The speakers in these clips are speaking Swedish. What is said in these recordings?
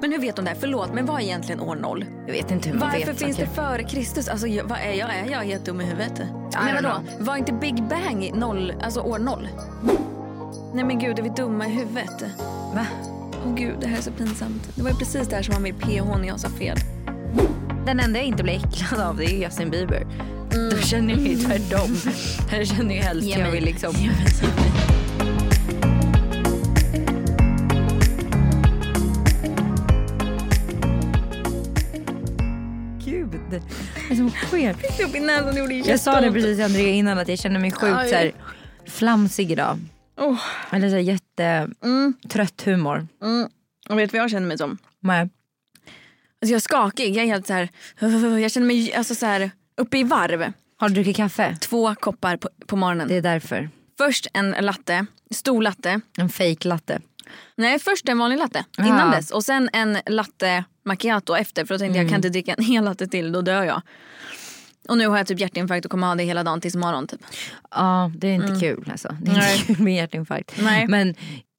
Men hur vet de det? här? Förlåt, men vad är egentligen år noll? Jag vet inte hur man Varför vet finns saker. det före Kristus? Alltså, jag, vad är jag? Är jag helt dum i huvudet? don't Men vadå? know. Var inte Big Bang noll, alltså år noll? Nej men gud, är vi dumma i huvudet? Va? Åh gud, det här är så pinsamt. Det var ju precis det här som var med i PH när jag sa fel. Den enda jag inte blir äcklad av det är ju Justin Bieber. Då känner jag ju tvärtom. Jag känner ju helst Ge jag mig. vill liksom... Gud. Vad som sker? Upp i näsan gjorde Jag sa det precis till Andrea innan att jag känner mig sjukt Aj. så här, flamsig idag. Oh. Eller så här, Mm. jättetrött humor. Och vet du vad jag känner mig som? Men, Alltså, jag är skakig. Jag är helt så här... Jag känner mig alltså, så här, uppe i varv. har du druckit kaffe? Två koppar på, på morgonen. Det är därför. Först en latte, stor latte. En fake latte. Nej, först en vanlig latte innan dess. Och sen en latte macchiato efter. För då tänkte Mm. jag, jag kan inte dricka en hel latte till, då dör jag. Och nu har jag typ hjärtinfarkt och kommer ha det hela dagen tills imorgon. Typ. Ja, det är inte kul alltså. Det är Nej. inte kul med hjärtinfarkt. Nej. Men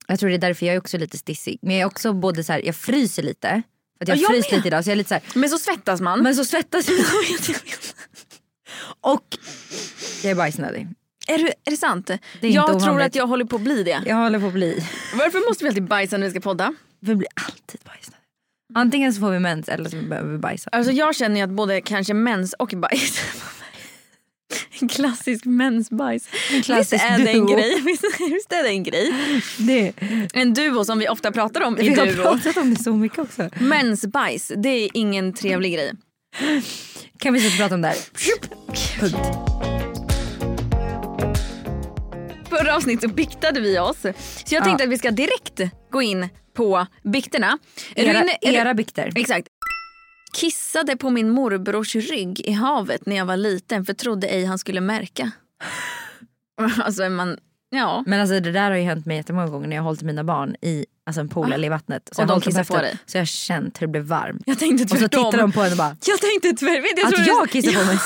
jag tror det är därför jag är också lite stissig. Men jag är också både så här, jag fryser lite. För att jag, Ja, jag fryser med. lite idag så jag är lite så här, Men så svettas man. men så svettas jag. Och jag är bajsnödig. är, du, är det sant? inte jag tror ovanligt. att jag håller på att bli det. Jag håller på att bli, Varför måste vi alltid bajsa när vi ska podda? vi blir alltid bajsnödig. Antingen så får vi mens eller så behöver vi bajsa. Alltså jag känner ju att både kanske mens och bajs. En klassisk mensbajs. Visst klassisk är det en duo. grej? Visst- Visst är det en grej? Det, En duo som vi ofta pratar om i vi har duo. pratat om det så mycket också. Mensbajs, det är ingen trevlig grej. Kan vi sluta prata om det här? Punkt. Förra avsnittet så biktade vi oss. Så jag tänkte att vi ska direkt gå in på bikterna. Är du Era, inne- är du- era bikter. Exakt. Kissade på min morbrors rygg i havet när jag var liten för trodde ej han skulle märka. Alltså är man, ja. Men alltså det där har ju hänt mig jättemånga gånger när jag har hållit mina barn i alltså en pool eller i vattnet. Så Ah. Och jag de har hållit dem kissar på efter, dig. Så jag har känt hur det blev varmt. Jag tänkte Och så tvärtom. tittar de på en och bara Jag tänkte tvärtom. Jag att trodde- jag kissar på Ja, mig.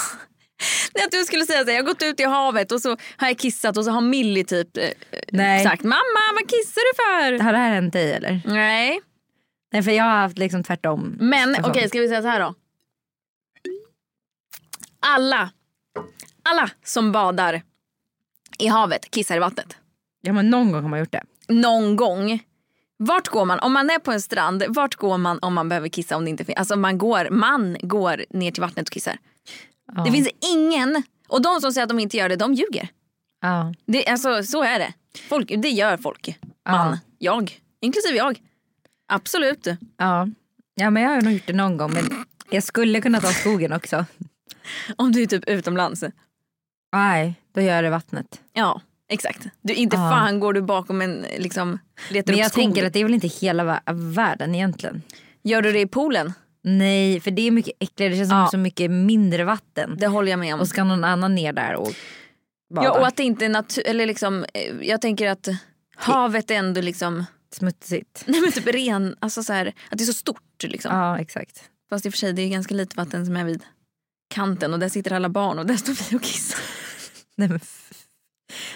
Nej, att du skulle säga så här, jag har gått ut i havet och så har jag kissat och så har Millie typ eh, Nej. sagt mamma vad kissar du för? Har det här hänt dig eller? Nej. Nej för jag har haft liksom tvärtom. Men situation. okej, ska vi säga så här då. Alla, alla som badar i havet kissar i vattnet. Ja men någon gång har man gjort det. Någon gång. Vart går man? Om man är på en strand, vart går man om man behöver kissa? om det inte finns? Alltså man går, man går ner till vattnet och kissar. Ja. Det finns ingen, och de som säger att de inte gör det, de ljuger. Ja. Det, alltså, så är det. Folk, det gör folk. Man, Ja. jag, inklusive jag. Absolut. Ja. ja men jag har nog gjort det någon gång. Men jag skulle kunna ta skogen också. Om du är typ utomlands. Nej då gör jag det i vattnet. Ja, exakt. Du, inte Ja. fan går du bakom en, liksom, letar Men upp jag skog. tänker att det är väl inte hela vä- världen egentligen. Gör du det i poolen? Nej för det är mycket äckligare. Det känns Ja. som så mycket mindre vatten. Det håller jag med om. Och ska någon annan ner där och bada. Ja, och att det inte är natur... Eller liksom, eh, jag tänker att havet är ändå liksom... Smutsigt. Nej men typ ren, alltså så här, att det är så stort liksom. Ja exakt. Fast i och för sig det är ganska lite vatten som är vid kanten och där sitter alla barn och där står vi och kissar. Nej, men f-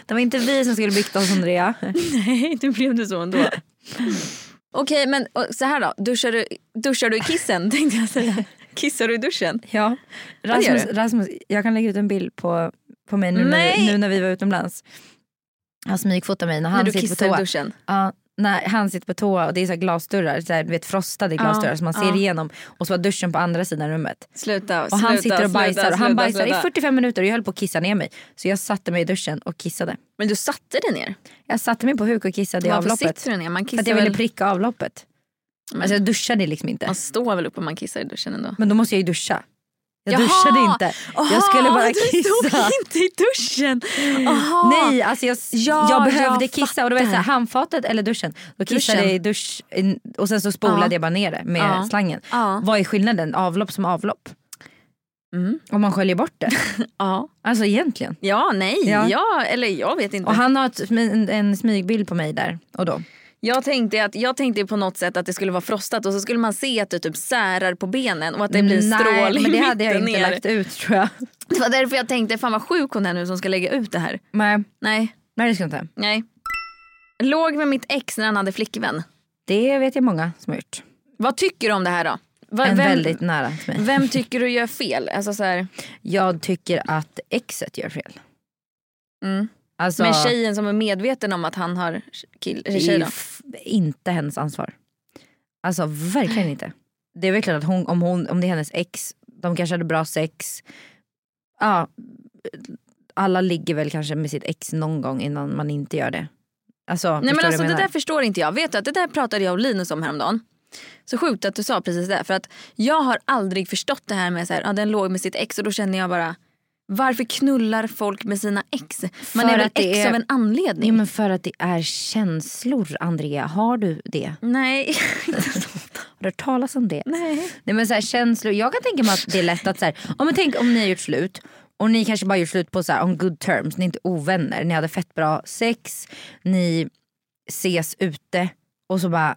det var inte vi som skulle bygga oss Andrea. Nej, nu blev det så ändå. Okej, men och, så här då. Duschar du, duschar du i kissen tänkte jag säga. Kissar du i duschen? Ja. Ja, det gör Rasmus, Rasmus, jag kan lägga ut en bild på, på mig nu Nej. när, nu när vi var utomlands. Han smygfotar mig när han när du sitter på kissar i toa. duschen? Ja, när han sitter på toa och det är så här glasdörrar, så här, du vet, frostade glasdörrar som man ser ja. igenom. Och så var duschen på andra sidan rummet. Sluta, Och sluta, han sitter och sluta, bajsar och han sluta, bajsar sluta. i 45 minuter och jag höll på att kissa ner mig. Så jag satte mig i duschen och kissade. Men du satte dig ner? Jag satte mig på huk och kissade i Varför avloppet. sitter du ner? Man För kissar att jag ville väl... pricka avloppet. Alltså jag duschade liksom inte. Man står väl upp om man kissar i duschen ändå? Men då måste jag ju duscha. Jag Jaha! duschade inte. Aha, jag skulle bara Du kissa. stod inte i duschen! Aha. Nej, alltså jag, Ja, jag behövde jag kissa och det var jag så här, handfatet eller duschen. Då kissade Duschen. jag i dusch in- och sen så spolade Ja. jag bara ner det med Ja. Mm. slangen. Ja. Vad är skillnaden? Avlopp som avlopp? Om man sköljer bort det. Ja. Alltså egentligen. Ja, nej. Ja. Ja. eller jag vet inte. Och han har ett, smi- en, en smygbild på mig där och då. Jag tänkte, att, jag tänkte på något sätt att det skulle vara frostat och så skulle man se att det typ särar på benen och att det blir en Nej, strål i men det mitten hade jag inte ner. lagt ut tror jag. Det var därför jag tänkte, fan vad sjuk hon är nu som ska lägga ut det här. Nej, Nej, nej det ska jag inte. nej. Låg med mitt ex när han hade flickvän. Det vet jag många som har gjort. Vad tycker du om det här då? Va- En vem, väldigt nära till mig. vem tycker du gör fel? Alltså så här, Jag tycker att exet gör fel. Mm. Alltså, men tjejen som är medveten om att han har kill, det tjej är då? f- inte hennes ansvar. Alltså verkligen inte. Det är väl klart att hon, om, hon, om det är hennes ex, de kanske hade bra sex. Ja, alla ligger väl kanske med sitt ex någon gång innan man inte gör det. Alltså, Nej förstår men du alltså vad det jag där menar? förstår inte jag. Vet du att det där pratade jag och Linus om häromdagen. Så sjukt att du sa precis det. För att jag har aldrig förstått det här med så här, ja, den låg med sitt ex och då känner jag bara varför knullar folk med sina ex? Man För är väl att det ex är- av en anledning? Nej, men för att det är känslor Andrea, har du det? Nej. Har du hört talas om det? Nej. Nej men så här, känslor, jag kan tänka mig att det är lätt att så här, om men tänk om ni har gjort slut och ni kanske bara gjort slut på så här, on good terms, ni är inte ovänner, ni hade fett bra sex, ni ses ute och så bara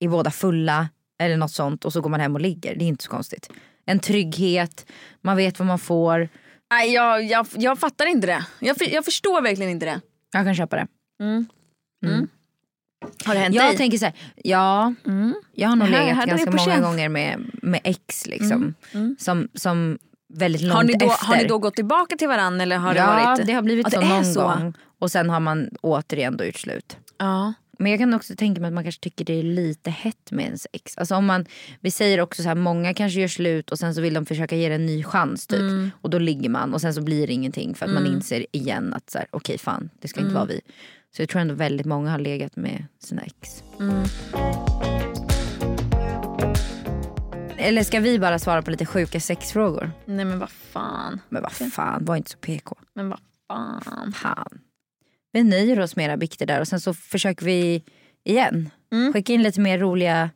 är båda fulla eller något sånt och så går man hem och ligger. Det är inte så konstigt. En trygghet, man vet vad man får. Nej jag, jag, jag fattar inte det. Jag, för, jag förstår verkligen inte det. Jag kan köpa det. Har det hänt Jag dig? tänker så här, ja, jag har nog Det Mm. här legat hade vi ganska på många känn. Mm. gånger med, med ex liksom. Som, som väldigt långt har, ni då, efter. har ni då gått tillbaka till varandra eller har ja, det det, varit? har blivit Ja, så det är någon så. gång. Och sen har man återigen då gjort slut. Ja. Men jag kan också tänka mig att man kanske tycker det är lite hett med ens ex. Alltså om man, vi säger också så här, många kanske gör slut och sen så vill de försöka ge det en ny chans typ. Mm. Och då ligger man och sen så blir det ingenting för att man inser igen att så här, okej fan det ska Mm. inte vara vi. Så jag tror ändå väldigt många har legat med sina ex. Mm. Eller ska vi bara svara på lite sjuka sexfrågor? Nej men vad fan. Men vad fan, var inte så PK. Men vad fan. Fan. Vi nöjer oss med era bikter där och sen så försöker vi igen. Skicka in lite mer roliga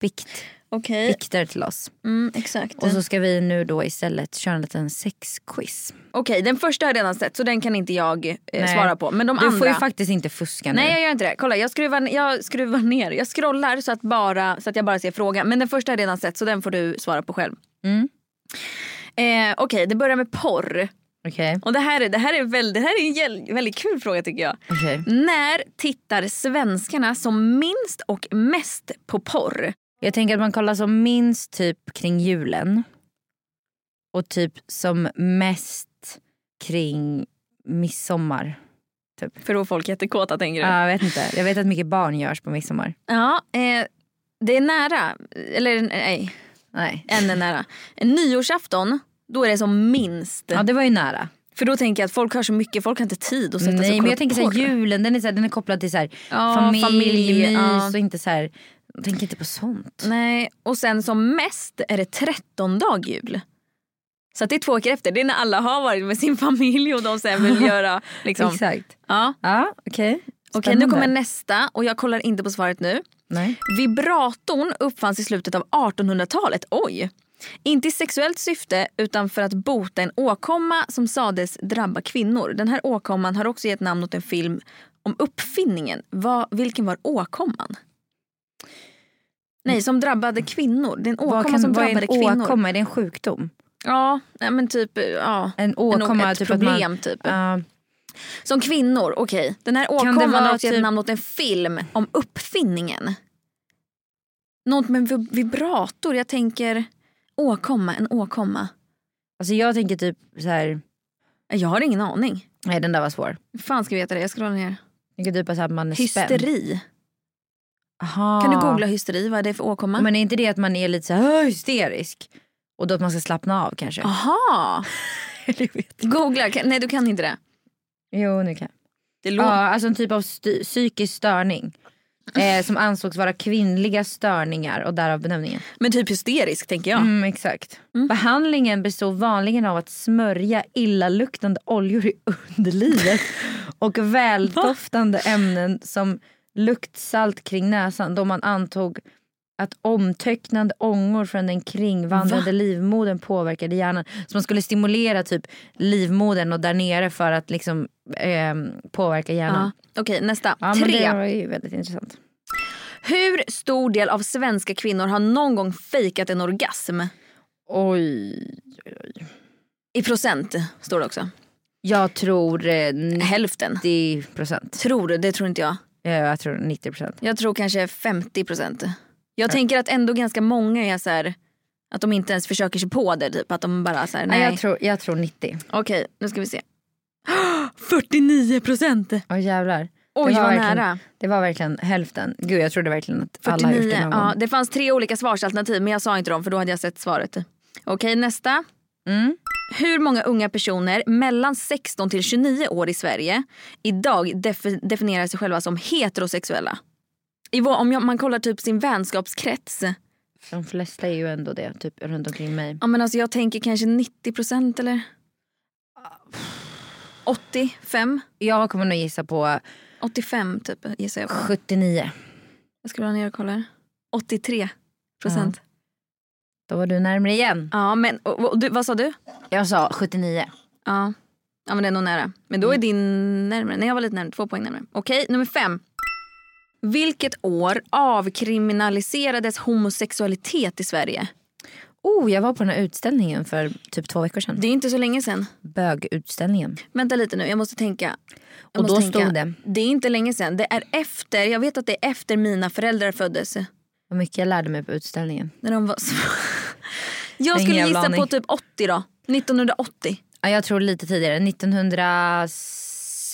bikt, Okej. bikter till oss. Mm, exakt. Och så ska vi nu då istället köra en liten sexquiz. Okej, den första har jag redan sett så den kan inte jag eh, Nej. svara på. Men de Du andra. får ju faktiskt inte fuska nu. Nej jag gör inte det. Kolla jag skruvar, jag skruvar ner. Jag scrollar så att, bara, så att jag bara ser frågan. Men den första har jag redan sett så den får du svara på själv. Mm. Eh, Okej, det börjar med porr. Okej. Och det här är, det här är, väl, det här är en jäl- väldigt kul fråga tycker jag. Okej. När tittar svenskarna som minst och mest på porr? Jag tänker att man kollar som minst typ kring julen. Och typ som mest kring midsommar. För då är folk jättekåta tänker du? Ja, jag vet inte. Jag vet att mycket barn görs på midsommar. Ja, eh, det är nära. Eller nej, Nej. än är nära. Nyårsafton, då är det som minst. Ja det var ju nära. För då tänker jag att folk har så mycket, folk har inte tid att sätta sig och Nej kolla men jag tänker porr. såhär, julen den är, såhär, den är kopplad till såhär, Ja, familj, familj, mys ja. och inte såhär, jag tänker inte på sånt. Nej, och sen som mest är det 13 dag jul. Så att det är två veckor efter, det är när alla har varit med sin familj och de sen vill göra liksom. Exakt. Ja. Ja okej. Okej nu Spännande. kommer nästa och jag kollar inte på svaret nu. Nej. Vibratorn uppfanns i slutet av 1800-talet. Oj! Inte i sexuellt syfte utan för att bota en åkomma som sades drabba kvinnor. Den här åkomman har också gett namn åt en film om uppfinningen. Va, vilken var åkomman? Nej, som drabbade kvinnor. Det är en åkomma Vad, kan, som vad är drabbade en kvinnor. åkomma? Är det en sjukdom? Ja, nej, men typ... Ja. En åkomma? ett typ att problem man, typ. Ja. Som kvinnor, okej. Den här det åkomman har vara också gett typ- namn åt en film om uppfinningen. Något med vib- vibrator. Jag tänker åkomma, en åkomma. alltså jag tänker typ såhär, Jag har ingen aning. nej den där var svår. Hur fan ska jag veta det? Jag scrollar ner. Jag tänker typ att så här, man är spänd. Hysteri. Aha. Kan du googla hysteri? Vad är det för åkomma? Men är inte det att man är lite såhär hysterisk? Och då att man ska slappna av kanske? Aha! Eller jag vet. Googla. Kan- Nej, du kan inte det. Jo nu kan jag. Det Ja, låter... alltså en typ av sty- psykisk störning. Eh, som ansågs vara kvinnliga störningar och därav benämningen. Men typ hysterisk, tänker jag. Mm, exakt. Behandlingen bestod vanligen av att smörja illaluktande oljor i underlivet och väldoftande ämnen som luktsalt kring näsan då man antog att omtöcknande ångor från den kringvandrande livmodern påverkade hjärnan. Så man skulle stimulera typ livmodern och där nere för att liksom ehm, påverka hjärnan. Ja. Okej, nästa. Ja, men Tre. Det var ju väldigt intressant. Hur stor del av svenska kvinnor har någon gång fejkat en orgasm? Oj. I procent står det också. Jag tror eh, Hälften. 90 procent. Eh, Tror du? Det tror inte jag. Jag tror 90 procent. Jag tror kanske 50 procent. Jag tänker att ändå ganska många är så här att de inte ens försöker sig på det typ. Att de bara så här, nej. Nej. Jag, tror, jag tror 90. Okej, nu ska vi se. 49 procent! Åh jävlar. Oj, det var vad verkligen, nära. Det var verkligen hälften. Gud jag trodde verkligen att alla har gjort 49. det någon Ja, gång. det fanns tre olika svarsalternativ men jag sa inte dem för då hade jag sett svaret. Okej, nästa. Mm. Hur många unga personer mellan 16 till 29 år i Sverige idag def- definierar sig själva som heterosexuella? I vår, om jag, man kollar typ sin vänskapskrets. De flesta är ju ändå det, typ runt omkring mig. Ja, men alltså jag tänker kanske 90 procent eller? 85? Jag kommer nog gissa på 85 typ gissar jag på. 79. Jag ska dra ner och kolla. här. 83 procent. Då var du närmare igen. Ja, men och, och, du, vad sa du? Jag sa 79. Ja. ja, men det är nog nära. Men då är din närmare. Nej, jag var lite närmare. Två poäng närmare. Okej, nummer fem. Vilket år avkriminaliserades homosexualitet i Sverige? Oh, jag var på den här utställningen för typ två veckor sedan. Det är inte så länge sedan. Bögutställningen. Vänta lite nu, jag måste tänka. Jag Och måste då tänka. stod det. Det är inte länge sedan. Det är efter, jag vet att det är efter mina föräldrar föddes. Vad mycket jag lärde mig på utställningen. När de var små. Jag skulle jävla gissa på aning. typ 80 då. 1980. Ja, jag tror lite tidigare.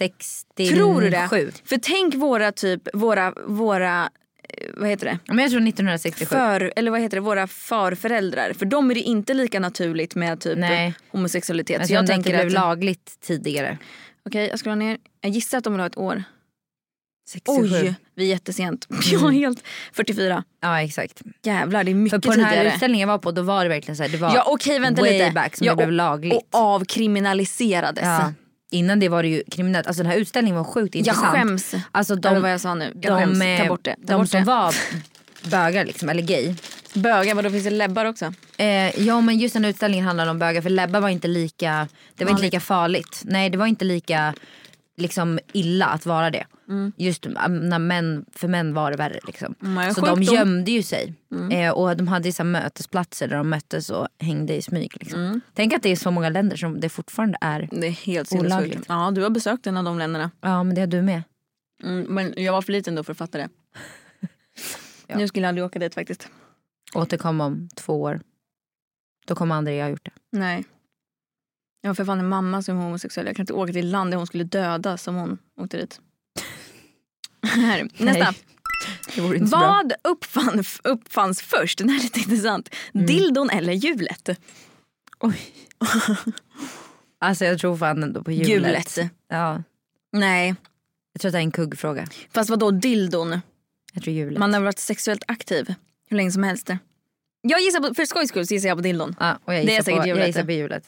1967. Tror du det? För tänk våra typ, våra, våra, eh, vad heter det? Ja, Men jag tror 1967. För, eller vad heter det, våra farföräldrar. För dem är det inte lika naturligt med typ Nej. homosexualitet. Alltså, jag så tror jag inte att det tänker blev att... lagligt tidigare. Okej, jag scrollar ner. Jag gissar att de vill ha ett år. 67. Oj, vi är jättesent. Jag är helt... 44. Ja exakt. Jävlar, det är Mm. För mycket på den här tidigare. utställningen jag var på då var det verkligen så här, det var Ja, okej, vänta way lite. back som ja, det blev och- lagligt. Och avkriminaliserades. Ja. Innan det var det ju kriminellt. Alltså den här utställningen var sjukt Jag intressant. skäms Alltså över de, vad jag sa nu. Jag de, skäms. Ta eh, bort det. Ta de bort som det. var bögar liksom, eller gay. Bögar, vadå finns det läbbar också? Eh, ja men just den utställningen handlade om bögar för lebbar var inte lika, det var inte lika farligt. Nej det var inte lika liksom illa att vara det. Just eh, när män, för män var det värre liksom. Mm, så sjukdom. de gömde ju sig. Eh, och de hade ju så här mötesplatser där de möttes och hängde i smyg. Liksom. Tänk att det är så många länder som det fortfarande är. Det är helt Olagligt. sinnessjukt. Ja, du har besökt en av de länderna. Ja men det har du med. Mm, men jag var för liten då för att fatta det. Ja. Nu skulle jag aldrig åka dit faktiskt. Återkom om två år. Då kommer Andrea ha gjort det. Nej. Jag har för fan en mamma som är homosexuell. Jag kan inte åka till ett land där hon skulle döda som hon åkte dit. Här, nästa. Nej. Det vore inte så bra. Vad uppfann, uppfanns först? Den här är lite intressant. Dildon eller hjulet? Alltså jag tror fan ändå på hjulet. Hjulet. Ja. Nej. Jag tror att det är en kuggfråga. Fast vadå dildon? Jag tror hjulet. Man har varit sexuellt aktiv hur länge som helst. Jag gissar på, för skojs skull så gissar jag på dildon. Ja, och jag Det är gissar, säkert på, hjulet. jag gissar på hjulet.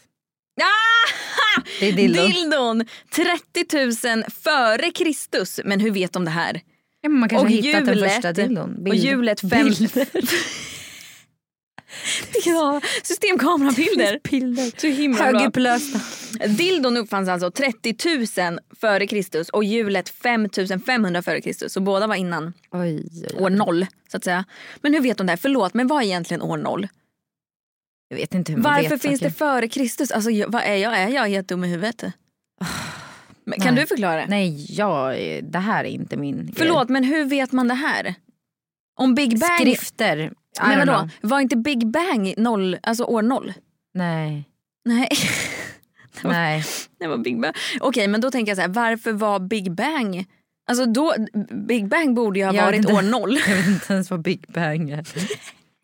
Ah! Det är dildon. Dildon! 30 000 före Kristus. Men hur vet de det här? Ja, men man kanske och har hittat den hjulet- första dildon. och hjulet fem- Bilder. Ja, systemkamerabilder. Så himla bra. Högupplösta. Dildon uppfanns alltså 30 000 före Kristus och hjulet 5 500 före Kristus. Så båda var innan Oj, oj, oj. år noll så att säga. Men hur vet de det här? Förlåt, men vad är egentligen år noll? Jag vet inte hur man Varför vet finns saker. det före Kristus? Alltså, jag, vad är jag? Är jag helt dum i huvudet? Men, kan Nej. du förklara? det? Nej, jag, det här är inte min Förlåt, men hur vet man det här? Om Big grej. Bang... Skrifter. I Men don't vadå, know. var inte Big Bang noll, alltså år noll? Nej, Nej. nej. Det var Big Bang. Okej, men då tänker jag så här, varför var Big Bang... Alltså då, Big Bang borde ju ha Jag vet varit inte. år noll. Jag vet inte ens vad Big Bang är.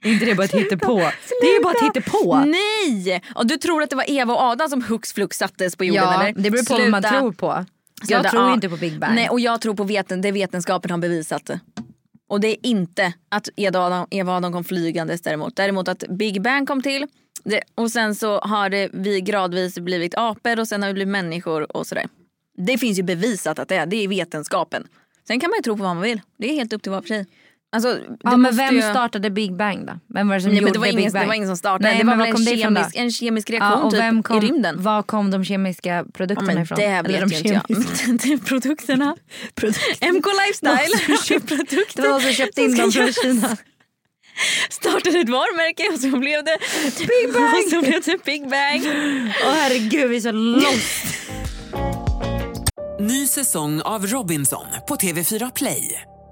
Är inte det bara ett på? Det är ju bara ett på. Nej! Och du tror att det var Eva och Adam som hux flux sattes på jorden Ja, eller? det beror på vad man tror på. Sluta, Jag tror ja. ju inte på Big Bang. Nej, och jag tror på veten, det vetenskapen har bevisat. Och det är inte att Eva och Adam, Eva och Adam kom flygandes däremot. Däremot att Big Bang kom till det, och sen så har det, vi gradvis blivit apor och sen har vi blivit människor och sådär. Det finns ju bevisat att det är, det är vetenskapen. Sen kan man ju tro på vad man vill. Det är helt upp till var för sig. Alltså, det Ja, men måste vem ju- startade Big Bang då? Vem var det som Nej, men gjorde det, var Big ingen, Bang? det var ingen som startade, det var men väl var en kom det ifrån då? kemisk, en kemisk Ja, reaktion och vem typ, kom, i rymden. Var kom de kemiska Ja, produkterna men ifrån? det Eller vet de ju inte jag. kemiska- Men det är produkterna. MK Lifestyle. Det var någon som köpte in dem ska från Kina. startade ett varumärke och så blev det Big Bang. Och så blev det Big Bang. Åh herregud vi är så lost. Ny säsong av Robinson på TV4 Play.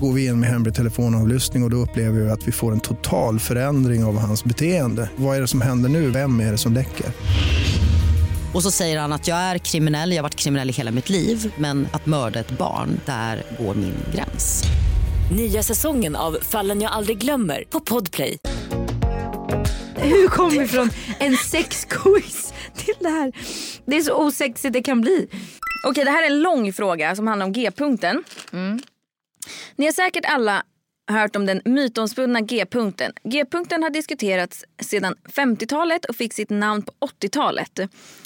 går vi in med hemlig telefonavlyssning och, och då upplever vi att vi får en total förändring av hans beteende. Vad är det som händer nu? Vem är det som läcker? Och så säger han att jag är kriminell, jag har varit kriminell i hela mitt liv men att mörda ett barn, där går min gräns. Nya säsongen av Fallen jag aldrig glömmer på Podplay. Hur kom vi från en sexquiz till det här? Det är så osexigt det kan bli. Okej, det här är en lång fråga som handlar om G-punkten. Mm. Ni har säkert alla hört om den mytomspunna G-punkten. G-punkten har diskuterats sedan 50-talet och fick sitt namn på 80-talet.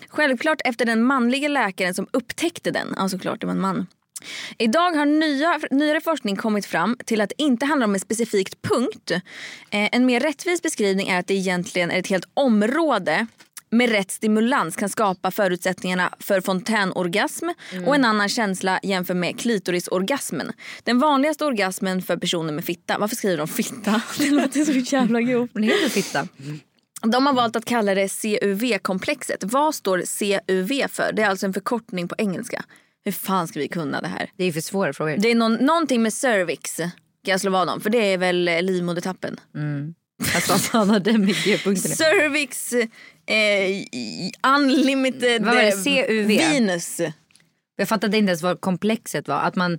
Självklart efter den manliga läkaren som upptäckte den. Ja, såklart, det var en man. Idag har nya, nyare forskning kommit fram till att det inte handlar om en specifik punkt. Eh, en mer rättvis beskrivning är att det egentligen är ett helt område med rätt stimulans kan skapa förutsättningarna för fontänorgasm och en annan känsla jämfört med klitorisorgasmen. Den vanligaste orgasmen för personer med fitta. Varför skriver de fitta? Det låter så jävla grovt. Men det heter fitta. De har valt att kalla det CUV-komplexet. Vad står CUV för? Det är alltså en förkortning på engelska. Hur fan ska vi kunna det här? Det är för svåra frågor. Det är någon, någonting med cervix. Kan jag slå vad om? För det är väl eh, livmodertappen. Mm, Alltså, han hade med G-punkten. Cervix eh, i- unlimited Vad var det? eh, CUV? Venus. Jag fattade inte ens vad komplexet var. Att man,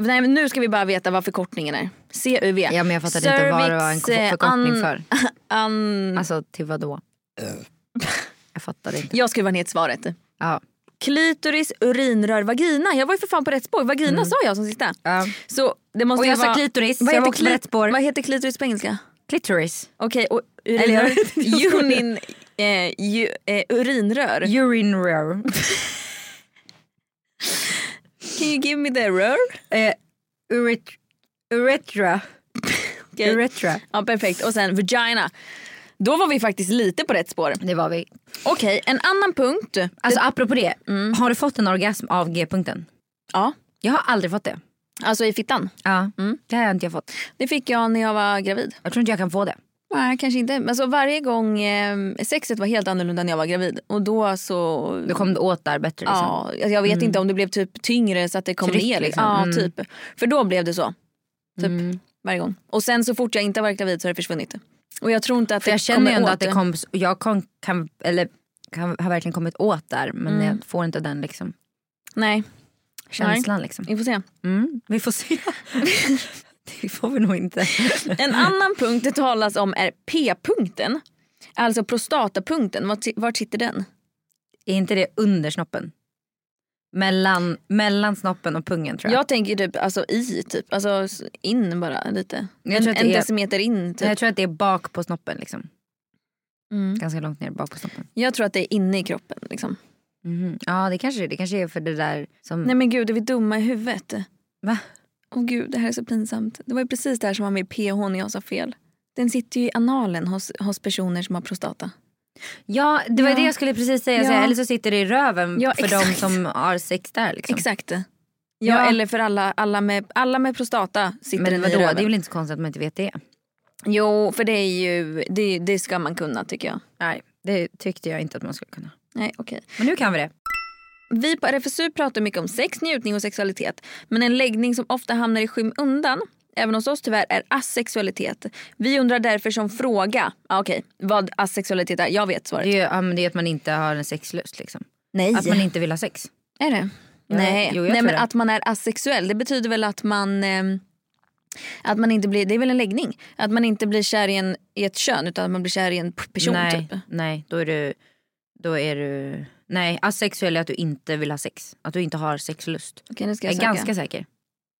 Nej, men nu ska vi bara veta vad förkortningen är. CUV. ja, men jag fattade inte vad det var en Cervix, eh, förkortning an- för. an- Alltså till vad då? Jag fattade inte. jag skriver ner svaret. Ja. Klitoris, urinrör, vagina. Jag var ju för fan på rätt spår. Vagina sa jag som sista. Ja. Så det Mm. måste Och jag ju sa vara- klitoris, så Vad jag heter, var också på kli- rätt spår. vad heter klitoris på engelska? Clitoris. Okej, och Eller jag urinrör. vet inte, jag skojar. Urin, eh, ju, eh, urinrör. Urinrör. Can you give me the rör? eh, uret- uretra. Okej. Uretra. Ja, perfekt. Och sen vagina. Då var vi faktiskt lite på rätt spår. Det var vi. Okej, en annan punkt. Alltså apropå det. Mm. Har du fått en orgasm av G-punkten? Ja, Jag har aldrig fått det. alltså i fittan. Ja. Det har jag inte jag fått. Det fick jag när jag var gravid. Jag tror inte jag kan få det. Nej, kanske inte. Alltså varje gång eh, sexet var helt annorlunda när jag var gravid. Och då så... Du kom du åt där bättre liksom. Ja, alltså, jag vet inte om det blev typ tyngre så att det kom Tryck, ner. liksom. Liksom. Ja, Mm. typ. För då blev det så. Typ varje gång. Och sen så fort jag inte har varit gravid så har det försvunnit. Och jag tror inte att För det jag känner ju ändå kommer att det åter. kom, jag kom, kan, eller kan, har verkligen kommit åt där men jag får inte den liksom, Mm. Nej, känslan. Liksom. vi får se. Mm. Vi får se. det får vi nog inte. En annan punkt det talas om är p-punkten. Alltså prostatapunkten. Vart, vart sitter den? Är inte det under snoppen? Mellan, mellan snoppen och pungen tror jag. Jag tänker typ alltså i, typ. Alltså s- in bara lite. Jag en tror att det en är- decimeter in typ. Mm. Nej, jag tror att det är bak på snoppen. Liksom. Ganska långt ner bak på snoppen. Jag tror att det är inne i kroppen liksom. Mhm. Ja det kanske det är. Det kanske är för det där som... Nej men gud, är vi dumma i huvudet? Va? Åh gud, det här är så pinsamt. Det var ju precis det här som var med PH när jag sa fel. Den sitter ju i analen hos, hos personer som har prostata. Ja det var Ja. det jag skulle precis säga. Så, Ja. eller så sitter det i röven Ja, för de exakt. som har sex där. Liksom. Exakt. Ja, Ja. eller för alla, alla, med, alla med prostata sitter Men den i vadå, det är röven. väl inte så konstigt att man inte vet det? Jo, för det är ju, det, det ska man kunna tycker jag. Nej, det tyckte jag inte att man skulle kunna. Nej, okej. Men nu kan vi det. Vi på RFSU pratar mycket om sex, njutning och sexualitet. Men en läggning som ofta hamnar i skymundan, även hos oss tyvärr, är asexualitet. Vi undrar därför som fråga, ah, okej, vad asexualitet är. Jag vet svaret. Det är, ju, ja, men det är att man inte har en sexlust liksom. Nej. Att man inte vill ha sex. Är det? Ja, Nej, jo, jag Nej tror men det. att man är asexuell det betyder väl att man eh, Att man inte blir, det är väl en läggning? Att man inte blir kär i, en, i ett kön utan att man blir kär i en p- person. nej, Typ. nej, då är du... Då är du nej, asexuell är att du inte vill ha sex. Att du inte har sexlust. Okej, nu ska Jag jag är söka. ganska säker.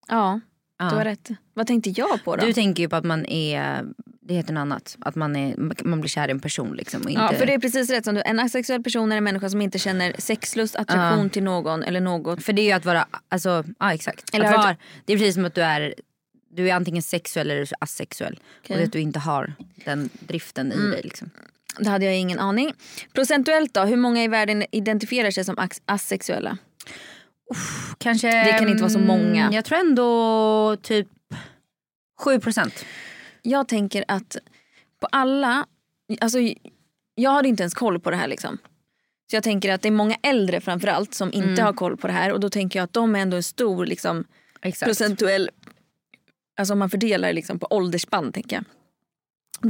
Ja, Ja. du har rätt. Vad tänkte jag på då? Du tänker ju på att man är... Det heter något annat. Att man, är, man blir kär i en person liksom. Och inte, Ja, för det är precis rätt som du. En asexuell person är en människa som inte känner sexlust, attraktion till någon eller något. För det är ju att vara, alltså, ja exakt. Eller att har vara, det är precis som att du är, du är antingen sexuell eller så asexuell. Okej. Mm. Och det är att du inte har den driften i dig liksom. Det hade jag ingen aning. Procentuellt då, hur många i världen identifierar sig som ax- asexuella? Kanske, Det kan inte vara så många. Jag tror ändå typ 7%. Jag tänker att på alla, alltså jag har inte ens koll på det här liksom. Så jag tänker att det är många äldre framförallt som inte har koll på det här och då tänker jag att de är ändå en stor liksom, Exakt. procentuell, alltså om man fördelar liksom, på åldersspann tänker jag.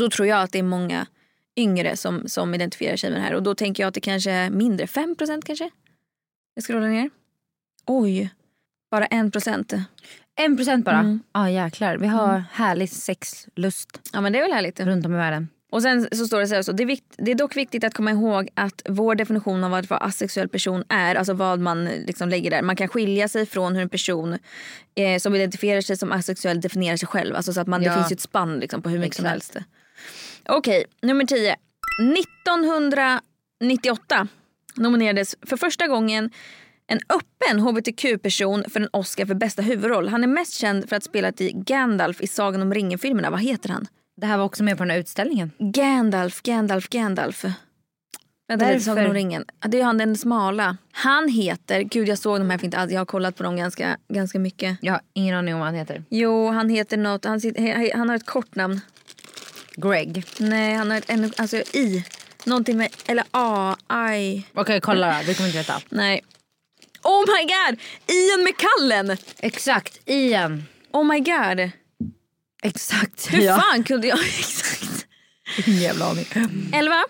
Då tror jag att det är många yngre som, som identifierar sig med det här och då tänker jag att det kanske är mindre, 5% kanske? Jag scrollar ner. Oj, bara 1%. 1% bara. Ja Mm. jäklar. Vi har härlig sexlust Ja men det är väl härligt. runt om i världen. Och sen så står det så här också, det är, vikt, det är dock viktigt att komma ihåg att vår definition av att vara asexuell person är, alltså vad man liksom lägger där. Man kan skilja sig från hur en person eh, som identifierar sig som asexuell definierar sig själv. Alltså så att man, Ja. det finns ju ett spann liksom på hur mycket som Exakt. helst. Okej, nummer 10. 1998 nominerades för första gången en öppen hbtq-person för en Oscar för bästa huvudroll. Han är mest känd för att ha spelat i Gandalf i Sagan om ringen-filmerna. Vad heter han? Det här var också med på den här utställningen. Gandalf, Gandalf, Gandalf. Vänta Varför? lite, Sagan om ringen. Ja, Det är han den smala. Han heter, gud jag såg de här för inte alls, jag har kollat på dem ganska, ganska mycket. Jag har ingen aning om vad han heter. Jo, han heter något, han, sit- he- he- han har ett kort namn. Greg. Nej, han har ett ännu, alltså I. Någonting med, eller A, I. Okej kolla då, du kommer inte veta. Nej. Oh my god! Ian McCallen! Exakt, Ian. Oh my god! Exakt. Hur Ja. fan kunde jag? Exakt. Ingen jävla aning. Mm. Elva.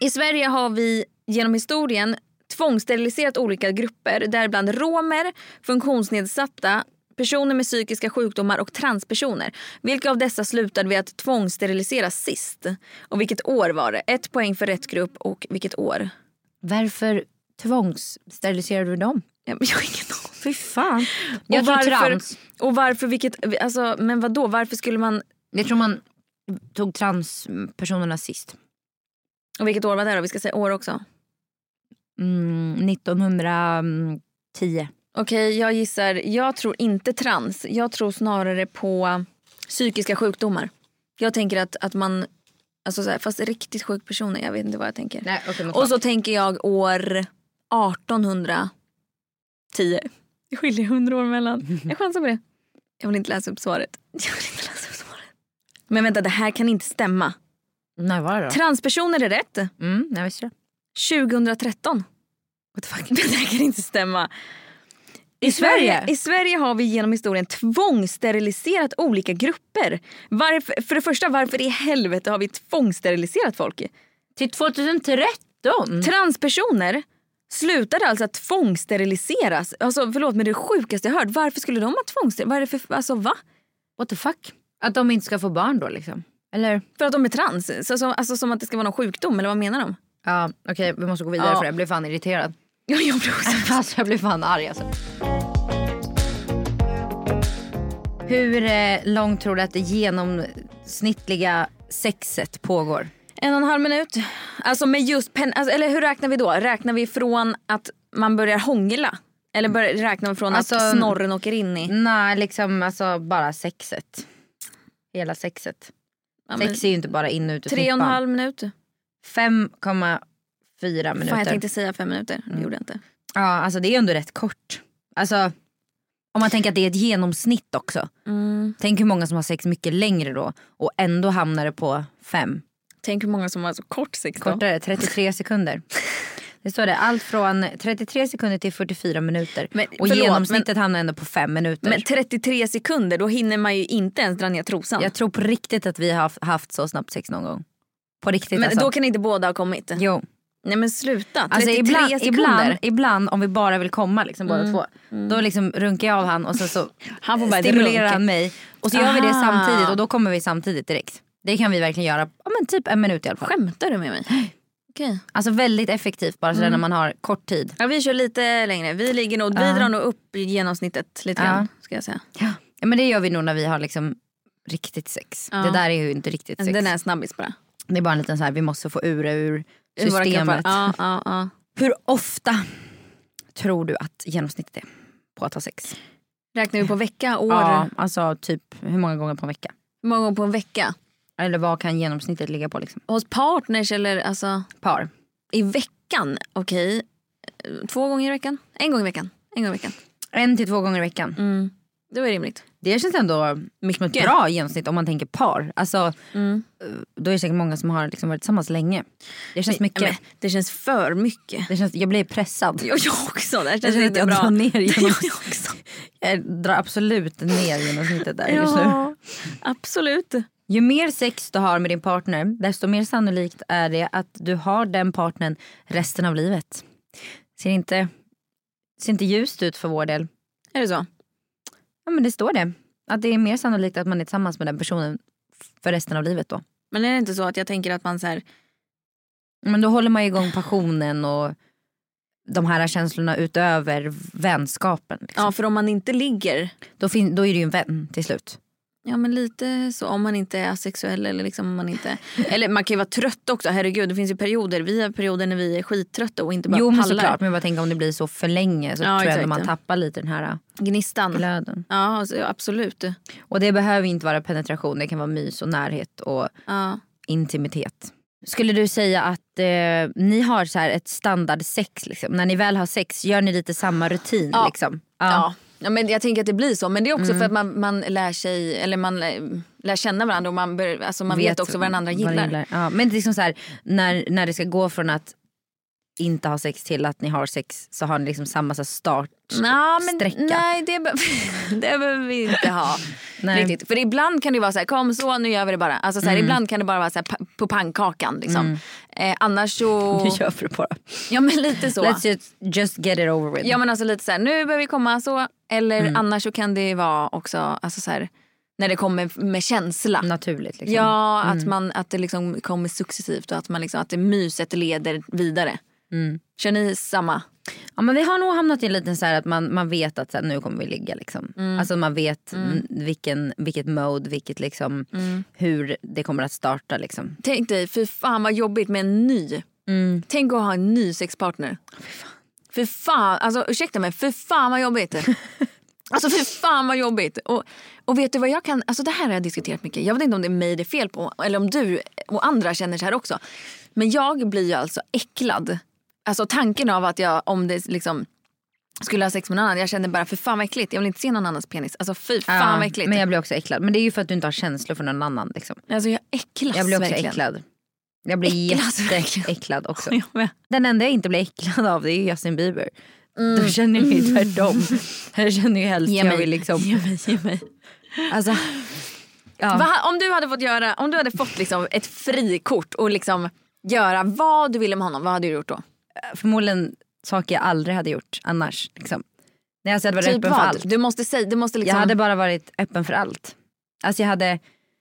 I Sverige har vi genom historien tvångssteriliserat olika grupper däribland romer, funktionsnedsatta, personer med psykiska sjukdomar och transpersoner. Vilka av dessa slutade vi att tvångssterilisera sist? Och vilket år var det? Ett poäng för rätt grupp och vilket år? Varför tvångssteriliserade du dem? Jag, jag har ingen aning. Fy fan. Och Jag tror varför- trans. Och varför, vilket, alltså, men vad då? varför skulle man, Jag tror man tog transpersonerna sist. och vilket år var det då? Vi ska säga år också. Mm, 1910. Okej, jag gissar, jag tror inte trans. Jag tror snarare på psykiska sjukdomar. Jag tänker att, att man, alltså så här, fast riktigt sjuk personer, jag vet inte vad jag tänker. Nej, okay, Och så tänker jag år 1810. Det skiljer hundra år mellan. Jag chansar på det. Jag vill inte läsa upp svaret. Jag vill inte läsa upp svaret. Men vänta, det här kan inte stämma. När var det då? Transpersoner är rätt. Mm, jag visste det. 2013. Men det här kan inte stämma. I Sverige? I Sverige har vi genom historien tvångssteriliserat olika grupper. Varför, för det första, varför i helvete har vi tvångssteriliserat folk? Till 2013? Transpersoner slutade alltså att tvångssteriliseras. Alltså, förlåt, men det är det sjukaste jag hört. Varför skulle de ha tvångssteriliserats? Vad är det för... Alltså, va? What the fuck? Att de inte ska få barn då liksom? Eller? För att de är trans? Så, så, alltså, som att det ska vara någon sjukdom, eller vad menar de? Ja, okej vi måste gå vidare Ja. för jag blev fan irriterad. Ja, jag blir också... Alltså jag blev fan arg alltså. Hur eh, långt tror du att det genomsnittliga sexet pågår? En och en halv minut. Alltså med just pen- alltså, eller hur räknar vi då? Räknar vi från att man börjar hångla? Eller börjar, räknar vi från Alltså- att snorren åker in i? Nej, liksom alltså bara sexet. Hela sexet. Ja, men, Sex är ju inte bara in och ut ur tre och en snippan. halv minut. 5,4 minuter. Mm. Fan, jag tänkte säga fem minuter. Det gjorde jag inte. Ja, alltså det är ju ändå rätt kort. Alltså om man tänker att det är ett genomsnitt också. Mm. Tänk hur många som har sex mycket längre då och ändå hamnar det på fem. Tänk hur många som har så kort sex då. Kortare, 33 sekunder. Det står det, allt från 33 sekunder till 44 minuter. Men, och förlåt, genomsnittet hamnar ändå på fem minuter. Men 33 sekunder, då hinner man ju inte ens dra ner trosan. jag tror på riktigt att vi har haft, haft så snabbt sex någon gång. På riktigt men alltså. då kan inte båda ha kommit. Jo. Nej men sluta, 33 Alltså ibland, sekunder. Mm, ibland, ibland om vi bara vill komma liksom båda två. Då liksom runkar jag av han och sen så Han får bara stimulerar runka. han mig. Och så gör vi det Aha. samtidigt och då kommer vi samtidigt direkt. Det kan vi verkligen göra ja, men typ en minut i alla fall. Skämtar du med mig? Okej. Alltså väldigt effektivt bara Mm. sådär när man har kort tid. Ja, vi kör lite längre. Vi, ligger nog, vi Ja. drar nog upp i genomsnittet lite Ja. grann. Ska jag säga. Ja, men det gör vi nog när vi har liksom riktigt sex. Ja. Det där är ju inte riktigt sex. Den är snabbis bara. Det är bara en liten så här, vi måste få ur det ur Ur våra systemet. kroppar. Ja, ja, ja. Hur ofta tror du att genomsnittet är på att ha sex? Räknar vi på vecka, år? Ja, alltså typ hur många gånger på en vecka? Hur många gånger på en vecka? Eller vad kan genomsnittet ligga på liksom? Hos partners eller alltså Par. i veckan? Okej. Två gånger i veckan? En gång i veckan. En gång i veckan. En till två gånger i veckan. Mm. Det var rimligt. Det känns ändå mycket. som ett bra genomsnitt om man tänker par. Alltså, Mm. Då är det säkert många som har liksom varit tillsammans länge. Det känns mycket. Men, det känns för mycket. det känns, jag blir pressad. Jag, jag också. Det här Jag känns känner att inte jag drar bra. ner Jag genomsnittet. Jag drar eh, absolut ner genomsnittet där just nu. Ja, absolut. Ju mer sex du har med din partner desto mer sannolikt är det att du har den partnern resten av livet. Ser inte, ser inte ljust ut för vår del. Är det så? Ja men det står det. Att det är mer sannolikt att man är tillsammans med den personen för resten av livet då. Men är det inte så att jag tänker att man så här, Men då håller man ju igång passionen och de här känslorna utöver vänskapen. Liksom. ja för om man inte ligger Då, fin- då är det ju en vän till slut. Ja men lite så om man inte är asexuell eller liksom om man inte Eller man kan ju vara trött också, herregud det finns ju perioder Vi har perioder när vi är skittrötta och inte bara jo men pallar såklart men jag bara tänker om det blir så för länge så Ja, tror jag ändå man exakt. tappar lite den här Gnistan glöden. Ja alltså, absolut Och det behöver inte vara penetration, det kan vara mys och närhet och ja. intimitet. Skulle du säga att eh, ni har så här ett standard sex liksom? När ni väl har sex, gör ni lite samma rutin Ja. liksom? Ja. Mm. ja men jag tänker att det blir så men det är också för att man, man lär sig Eller man lär, lär känna varandra och man, bör, alltså, man vet, också vad den andra gillar, den Ja. Men det är liksom så här, när, när det ska gå från att inte ha sex till att ni har sex så har ni liksom samma så här start. Nå, men, sträcka. Nej det, be- det behöver vi inte ha Nej. Riktigt. För ibland kan det vara så här, kom så nu gör vi det bara. Alltså så här, Ibland kan det bara vara så här, pa- på pannkakan. Liksom. Eh, annars så... Nu gör vi det bara. Ja men lite så. Let's just, just get it over with. Ja men alltså lite så här, nu behöver vi komma så. Eller Mm. annars så kan det vara också alltså så här, när det kommer med känsla. Naturligt liksom. Ja, att, man, att det liksom kommer successivt och att, man liksom, att det myset leder vidare. Mm. Kör ni samma? Ja, men vi har nog hamnat i en liten så här att man, man vet att så här, nu kommer vi ligga. Liksom. Alltså man vet mm, vilken, vilket mode, vilket liksom, Mm. hur det kommer att starta. Liksom. Tänk dig, fy fan vad jobbigt med en ny. Mm. Tänk att ha en ny sexpartner. Fy fan, alltså ursäkta mig, fy fan vad jobbigt. Alltså fy fan vad jobbigt. Och, och vet du vad jag kan, alltså det här har jag diskuterat mycket. Jag vet inte om det är mig det är fel på eller om du och andra känner så här också. Men jag blir ju alltså äcklad. Alltså tanken av att jag, om det liksom skulle ha sex med någon annan, jag känner bara för fan vad äckligt. Jag vill inte se någon annans penis. Alltså fy fan Ja, vad äckligt. men jag blir också äcklad. Men det är ju för att du inte har känslor för någon annan. Liksom. Alltså jag äcklas Jag blir också verkligen. äcklad. Jag blir Äcklas verkligen. jätteäcklad också. Jag med. Den enda jag inte blir äcklad av det är ju Justin Bieber. Då känner jag ju tvärtom. Jag känner ju helst Mm. Ge jag mig. vill liksom... Ge mig, ge mig. Alltså, ja. Va, om du hade fått göra, om du hade fått liksom ett frikort och liksom göra vad du ville med honom, vad hade du gjort då? Förmodligen saker jag aldrig hade gjort annars. Liksom. Nej, alltså jag Typ hade varit öppen för allt. Du måste, säga, du, måste liksom, Jag hade bara varit öppen för allt. Alltså jag hade,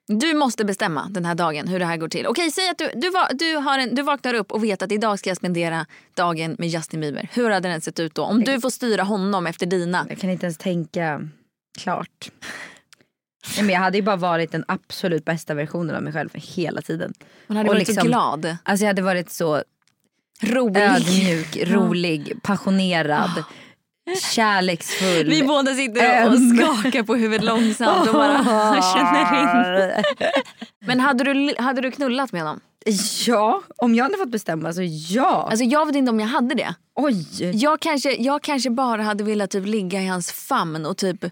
du måste bestämma den här dagen hur det här går till. Okej, säg att du, du, va, du, har en, du vaknar upp och vet att idag ska jag spendera dagen med Justin Bieber. Hur hade den sett ut då? Om du får styra honom efter dina. jag kan inte ens tänka klart. Nej, men jag hade ju bara varit den absolut bästa versionen av mig själv hela tiden. Hon hade Och varit så liksom- glad. Alltså jag hade varit så Rolig. ödmjuk, rolig, passionerad, kärleksfull. Vi båda sitter och och Öm. skakar på huvudet långsamt och bara känner in. Men hade du, hade du knullat med honom? Ja, om jag hade fått bestämma så ja. Alltså jag vet inte om jag hade det. Oj. Jag kanske, jag kanske bara hade velat typ ligga i hans famn och typ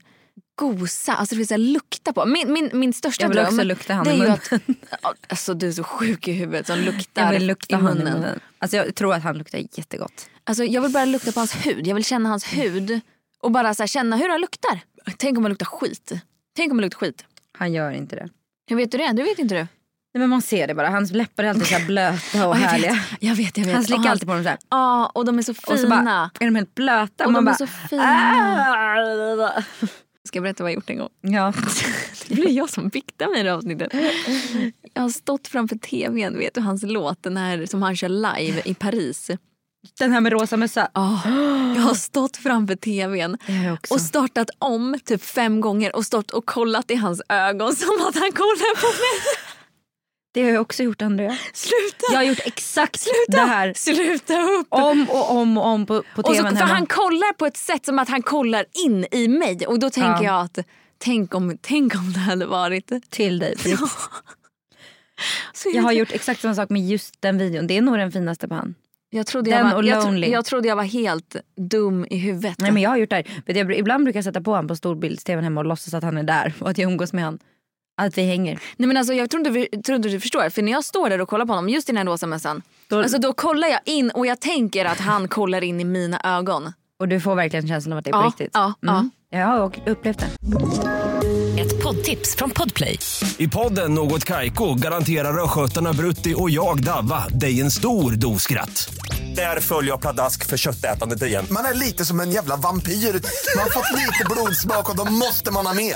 gosa, alltså det finns så här lukta på. Min, min, min största Jag vill dröm också lukta han det i är ju munnen. att, Alltså du är så sjuk i huvudet som luktar Jag vill lukta i han i munnen. munnen. Alltså jag tror att han luktar jättegott. Alltså, jag vill bara lukta på hans hud, jag vill känna hans hud och bara så här, känna hur han luktar. Tänk om han luktar skit. Tänk om han luktar skit. Han gör inte det. Hur vet du det? Du vet inte du. Nej, men man ser det bara, hans läppar är alltid så här blöta och Ja, jag, härliga. vet, jag vet, jag vet. Han slickar Ja. alltid på dem så här. Ja, och de är så Och så bara, fina. är de helt blöta? Och man de är bara, så fina. "Ah." Ska jag berätta vad jag gjort en gång? Ja. Det blir jag som biktar mig i det här avsnittet. Jag har stått framför tvn, vet du hans låt, den här som han kör live i Paris. Den här med rosa mössa. Ja, jag har stått framför tvn Det har jag också. och startat om typ fem gånger och stått och kollat i hans ögon som att han kollar på mig. Det har jag också gjort Andrea. Sluta! Jag har gjort exakt Sluta! det här. Sluta upp! Om och om och om på, på Och så, tvn för hemma. han kollar på ett sätt som att han kollar in i mig och då tänker Ja. jag att tänk om, tänk om det hade varit... till dig. För det- Så Jag har gjort exakt samma sak med just den videon. Det är nog den finaste på han. Jag trodde Den jag, var, och jag, tro, Lonely. jag trodde jag var helt dum i huvudet. Nej, men jag har gjort det här. Vet du, jag, ibland brukar jag sätta på honom på storbilds-tvn hemma och låtsas att han är där och att jag umgås med honom. Att vi hänger. Nej, men alltså, jag tror inte, vi- tror inte du förstår. För när jag står där och kollar på honom, just i den här rosa mössan. Då, alltså, då kollar jag in och jag tänker att han kollar in i mina ögon. Och du får verkligen känslan av att det är Ja, på riktigt. ja, ja. Jag har upplevt det. Ett poddtips från Podplay. I podden Något Kaiko garanterar östgötarna Brutti och jag, Davva, dig en stor dos skratt. Där följer jag pladask för köttätandet igen. Man är lite som en jävla vampyr. Man har fått lite blodsmak och då måste man ha mer.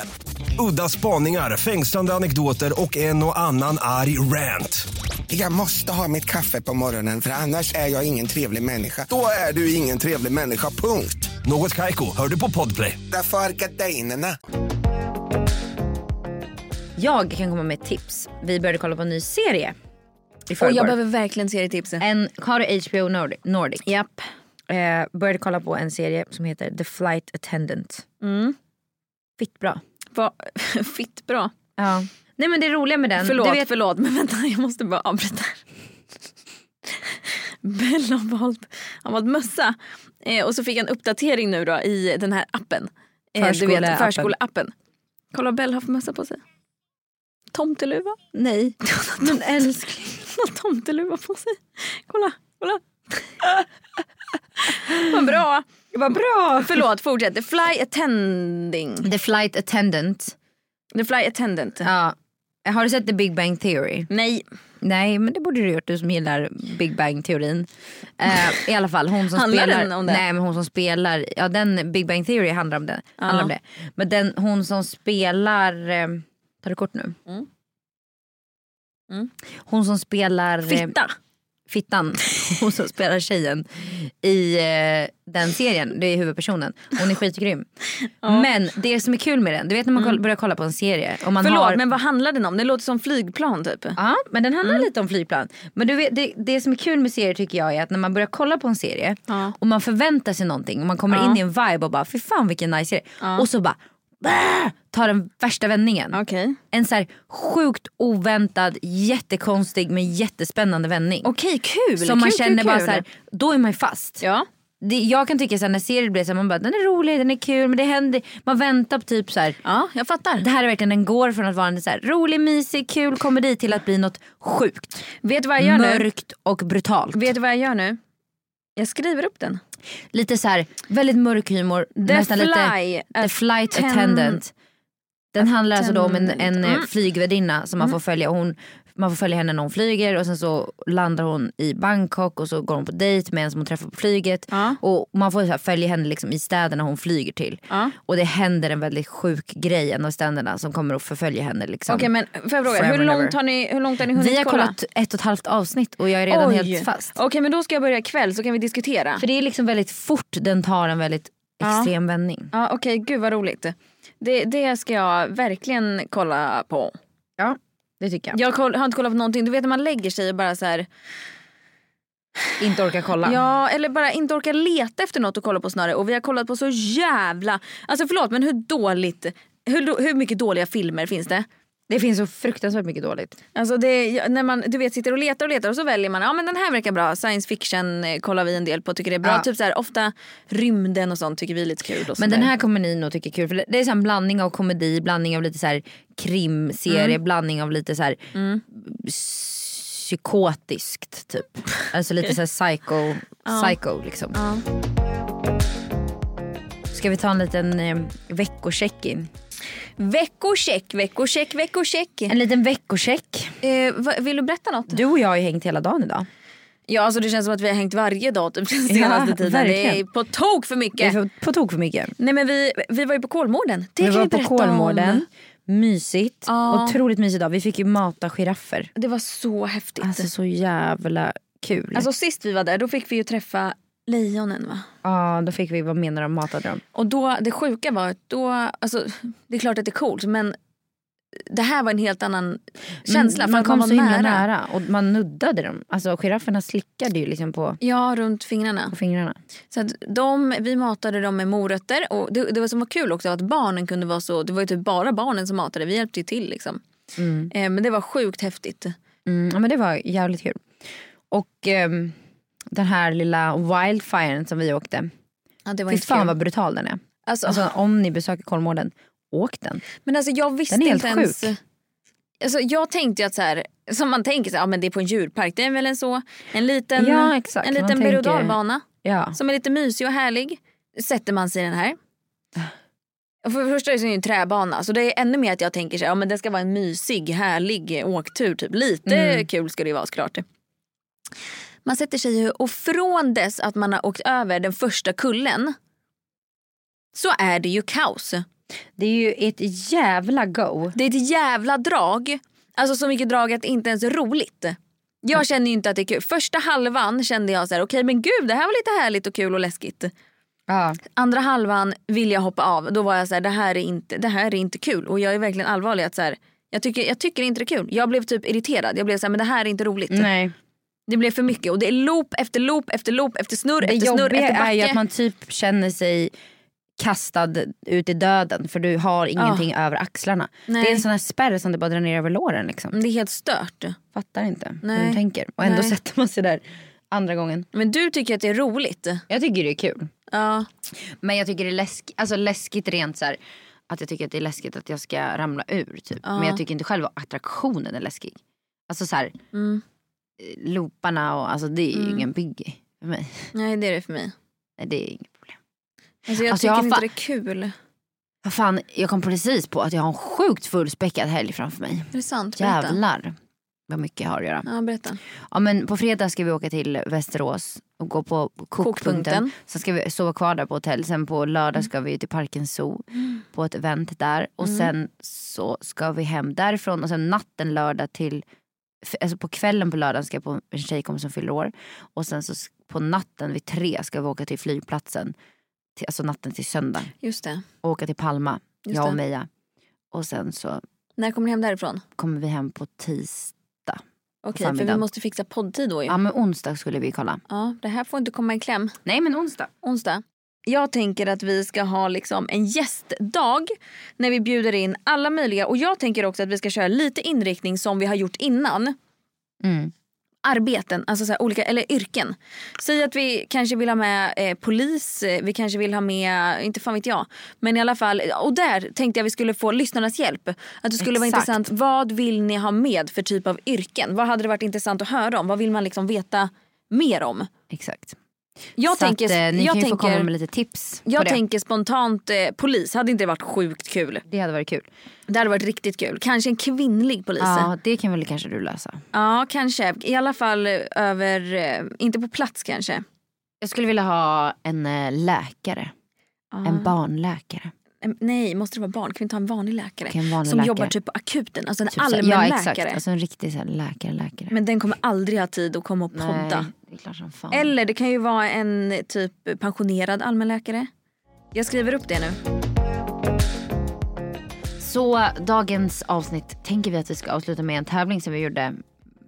Udda spaningar, fängslande anekdoter och en och annan arg rant. Jag måste ha mitt kaffe på morgonen för annars är jag ingen trevlig människa. Då är du ingen trevlig människa, punkt. Något Kaiko, hör du på Podplay. Därför arkadeinerna. Jag kan komma med ett tips. Vi började kolla på en ny serie i Och jag förrgår. behöver verkligen serietipset. En, har du HBO Nordic? Nordic. Eh, började kolla på en serie som heter The Flight Attendant. Mm. Fitt bra. Va- Fitt bra. Ja. Nej men det roliga med den. Förlåt, du vet, förlåt, men vänta jag måste bara avbryta. Bell har valt, har valt mössa eh, och så fick jag en uppdatering nu då i den här appen. Eh, du vet, Förskoleappen. förskoleappen. Kolla vad Bell har för mössa på sig. Tomteluva. Nej. Men älskling. Hon har tomteluva på sig. Kolla, kolla. vad bra. Vad bra. Förlåt, fortsätt. The fly attending. The Flight Attendant. The fly attendant. Ja. Har du sett The Big Bang Theory? Nej, Nej men det borde du gjort du som gillar Big Bang teorin. Eh, I alla fall hon som Handlar spelar. den om det? Nej men hon som spelar. Ja den Big Bang Theory handlar om det. Handlar om det. Men den hon som spelar. Eh, tar du kort nu? Mm. Hon som spelar. eh, fitta. Fittan. Hon som spelar tjejen i eh, den serien. Det är huvudpersonen. Hon är skitgrym. Men det som är kul med den. Du vet när man koll- börjar kolla på en serie. Och man Mm. Förlåt, har... men vad handlar den om? Det låter som flygplan typ. Ja, men den handlar lite om flygplan. Men du vet, det, det som är kul med serier tycker jag är att när man börjar kolla på en serie Ja. och man förväntar sig någonting och man kommer in i en vibe och bara fy fan vilken nice serie. Och så bara bah, tar den värsta vändningen. Okej. En så här sjukt oväntad, jättekonstig men jättespännande vändning. Okej, kul. Som man kul, känner kul, bara kul. så här, då är man ju fast. Ja. Det, jag kan tycka så här, när serier blir så här, man bara den är rolig, den är kul, men det händer, man väntar på typ så här ja, jag fattar. det här är verkligen, den går från att vara en så här rolig, mysig, kul komedi till att bli något sjukt. Vet du vad jag gör nu? Mörkt och brutalt. Vet du vad jag gör nu? Jag skriver upp den. Lite så här, väldigt mörk humor. nästan lite Fly. Alltså, The Flight Attendant. Den handlar alltså då om en, en eh, Mm. flygvärdinna som man får följa. Hon, man får följa henne när hon flyger och sen så landar hon i Bangkok och så går hon på dejt med en som hon träffar på flyget. Ja. Och man får så här, följa henne liksom i städerna hon flyger till. Ja. Och det händer en väldigt sjuk grej i en av städerna som kommer att förfölja henne. Liksom. Okej men får jag fråga, Forever hur and långt, ever. har ni, hur långt har ni hunnit Vi har kolla? kollat ett och ett halvt avsnitt och jag är redan Oj. helt fast. Okej men då ska jag börja ikväll så kan vi diskutera. För det är liksom väldigt fort den tar en väldigt Ja. extrem vändning. Ja, Okej gud vad roligt. Det, det ska jag verkligen kolla på. Ja, det tycker Jag koll, har inte kollat på någonting, du vet när man lägger sig och bara så här, Inte orka kolla. Ja, eller bara inte orka leta efter något att kolla på snarare. Och vi har kollat på så jävla... Alltså förlåt men hur dåligt... Hur, då- hur mycket dåliga filmer finns det? Det finns så fruktansvärt mycket dåligt. Alltså det, ja, när man du vet, sitter och letar och letar och så väljer man, ja men den här verkar bra, science fiction eh, kollar vi en del på tycker det är bra. Ja. Typ så här, ofta rymden och sånt tycker vi är lite kul. Och Men så den där. här kommer ni nog tycka är kul. För det- det är så här en blandning av komedi, blandning av lite så här krimserie, Mm. blandning av lite så här psykotiskt typ. Alltså lite så här psycho, psycho liksom. Ska Ska vi ta en liten eh, veckocheck-in? Veckocheck, veckocheck, veckocheck. En liten veckocheck. Eh, vad- vill du berätta något? Du och jag har ju hängt hela dagen idag. Ja, alltså det känns som att vi har hängt varje dag typ, den senaste tiden. Det är verkligen. på tok för mycket. Det är för, på tok för mycket. Nej men vi, vi var ju på Kolmården. Det Vi kan var vi på berätta om. Kolmården. Mysigt. Ja. Otroligt mysigt idag. Vi fick ju mata giraffer. Det var så häftigt. Alltså, Alltså så jävla kul. sist vi var där då fick vi ju träffa lejonen va. ja, då fick vi vara med när de matade dem. Och då, det sjuka var att då, alltså det är klart att det är coolt men det här var en helt annan känsla. Men Mm, för man att kom var så himla nära och man nuddade dem. Alltså girafferna slickade ju liksom på, Ja, runt fingrarna. på fingrarna. Så att de, vi matade dem med morötter. Och det, det var som var kul också var att barnen kunde vara så... Det var ju typ bara barnen som matade. Vi hjälpte ju till. liksom. Eh, men det var sjukt häftigt. Mm, ja, men det var jävligt kul. Och ehm, den här lilla wildfiren som vi åkte. Ja, det var Fy inte fan kul. vad brutal den är. Alltså, Alltså om ni besöker Kolmården, åk den. men alltså jag visste den är helt inte ens... sjuk. Alltså, jag tänkte ju att så här... Som man tänker, så här, ja, men det är på en djurpark. Det är väl en så... En liten, Ja, exakt. en Man liten berg och tänker- dalbana Ja. som är lite mysig och härlig. Sätter man sig i den här. Och För det första är det ju en träbana så det är ännu mer att jag tänker så här, ja men det ska vara en mysig härlig åktur typ. Lite Mm. kul ska det ju vara såklart. Man sätter sig ju och från dess att man har åkt över den första kullen så är det ju kaos. Det är ju ett jävla go. Det är ett jävla drag. Alltså så mycket drag att det inte ens är roligt. Mm. Jag känner ju inte att det är kul. Första halvan kände jag så här, okej men gud det här var lite härligt och kul och läskigt. Ja. Andra halvan vill jag hoppa av. Då var jag så här, det här är inte, det här är inte kul. Och jag är verkligen allvarlig. att så här, jag, tycker, jag tycker inte det är kul. Jag blev typ irriterad. Jag blev så här, men det här är inte roligt. Nej. Det blev för mycket. Och det är loop efter loop efter loop efter snurr Det efter snurr jobbiga efter är ju backe. att man typ känner sig kastad ut i döden för du har ingenting över axlarna. Nej. Det är en sån här spärr som du bara drar ner över låren. Liksom. Det är helt stört. Fattar inte hur Nej. du tänker. Och ändå Nej. sätter man sig där andra gången. Men du tycker att det är roligt. Jag tycker det är kul. Ja. Men jag tycker det är läsk- alltså läskigt rent så här. Att jag tycker att det är läskigt att jag ska ramla ur typ. Men jag tycker inte själv att attraktionen är läskig. Alltså så här. Mm. eh, Looparna och alltså det är ju ingen biggie för mig. Nej det är det för mig. Nej, det är inget problem. Alltså, jag Alltså, tycker jag har inte fa- det är kul. Är Vad fan, jag kom precis på att jag har en sjukt fullspäckad helg framför mig. det sant? Berätta. Jävlar vad mycket jag har att göra. Ja berätta. Ja men på fredag ska vi åka till Västerås och gå på kokpunkten. Kokpunkten. Sen ska vi sova kvar där på hotell. Sen på lördag ska vi till Parken Zoo Mm. på ett event där. Och sen så ska vi hem därifrån och sen natten lördag till, f- alltså på kvällen på lördagen ska jag på en tjejkompis som fyller år. Och sen så s- på natten vid tre ska vi åka till flygplatsen. Till, alltså natten till söndag. Just det. Och åka till Palma, Just jag och det. Meja. Och sen så När kommer ni hem därifrån? kommer vi hem på tisdag. Okej för vi Förmiddagen. måste fixa poddtid då ju. Ja men onsdag skulle vi kolla. Ja, det här får inte komma i kläm. Nej men onsdag. onsdag. Jag tänker att vi ska ha liksom en gästdag när vi bjuder in alla möjliga. Och jag tänker också att vi ska köra lite inriktning som vi har gjort innan. Mm. Arbeten, alltså så här olika, eller yrken. Säg att vi kanske vill ha med eh, polis, eh, vi kanske vill ha med, inte fan vet jag. Men i alla fall, och där tänkte jag vi skulle få lyssnarnas hjälp. Att det skulle vara Exakt. intressant, vad vill ni ha med för typ av yrken? Vad hade det varit intressant att höra om? Vad vill man liksom veta mer om? Exakt. Jag så tänker, att, eh, ni jag kan ju tänker, få komma med lite tips på jag det. tänker spontant eh, polis. Hade inte det varit sjukt kul? Det hade varit kul. Det hade varit riktigt kul. Kanske en kvinnlig polis. Ja, Ja, det kan väl kanske du lösa. kanske. I alla fall eh, över... Eh, inte på plats kanske. Jag skulle vilja ha en eh, läkare. Ah. En barnläkare. Typ Eh, Nej, måste det vara barn? Kan vi inte ha en vanlig läkare? Okej, en vanlig Som läkare. jobbar typ på akuten. Alltså en Typ så- allmänläkare. Ja, exakt. Alltså en riktig så här, läkare, läkare. Men den kommer aldrig ha tid att komma och Nej, podda. det är klart som fan. Eller det kan ju vara en eh, typ pensionerad allmänläkare. Jag skriver upp det nu. Så dagens avsnitt tänker vi att vi ska avsluta med en tävling som vi gjorde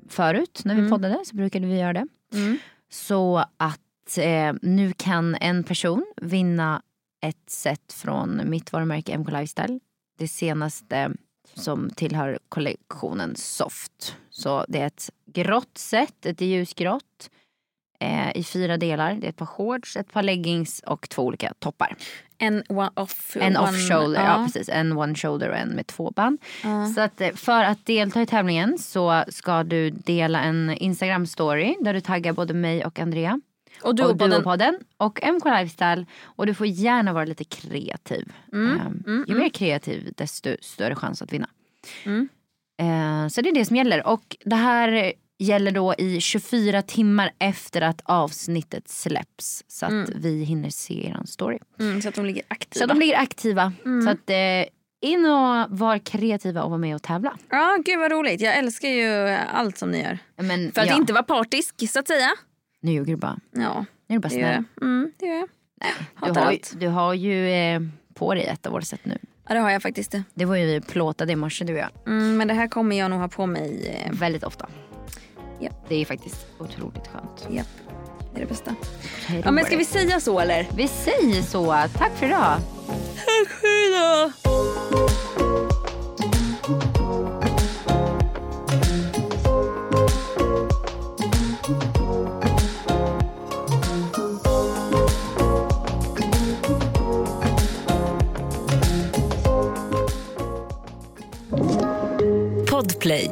förut när vi poddade. Så brukade vi göra det. Så att eh, nu kan en person vinna ett set från mitt varumärke MK Lifestyle. Det senaste som tillhör kollektionen Soft. Så det är ett grått set, ett ljusgrått. Eh, I fyra delar. Det är ett par shorts, ett par leggings och två olika toppar. En one-off. En one, off shoulder, ja. precis. En one shoulder och en med två band. Så att eh, för att delta i tävlingen så ska du dela en Instagram story där du taggar både mig och Andrea. Och du och och podden. podden och MK Lifestyle. Och du får gärna vara lite kreativ. Mm. Eh, ju mer kreativ desto större chans att vinna. Mm. Eh, så det är det som gäller. Och det här gäller då i 24 timmar efter att avsnittet släpps. Så att vi hinner se er story. Mm, så att de ligger aktiva. Mm. Så de blir aktiva. Så att eh, in och var kreativa och var med och tävla. Ja, gud vad roligt. Jag älskar ju allt som ni gör. Men, För att ja. inte vara partisk så att säga. Nu ljuger du bara. Ja, Nu är du bara det gör snäll. jag. Mm, det gör jag. Du Hatar har, ju- allt. du har ju eh, på dig ett av våra sätt nu. Ja, det har jag faktiskt. det. Det var ju vi plåtade i morse du och jag. Mm, men det här kommer jag nog ha på mig. eh, Väldigt ofta. Ja. Det är faktiskt otroligt skönt. Japp, det är det bästa. Ja, men ska vi säga så eller? Vi säger så. Tack för idag. Podplay.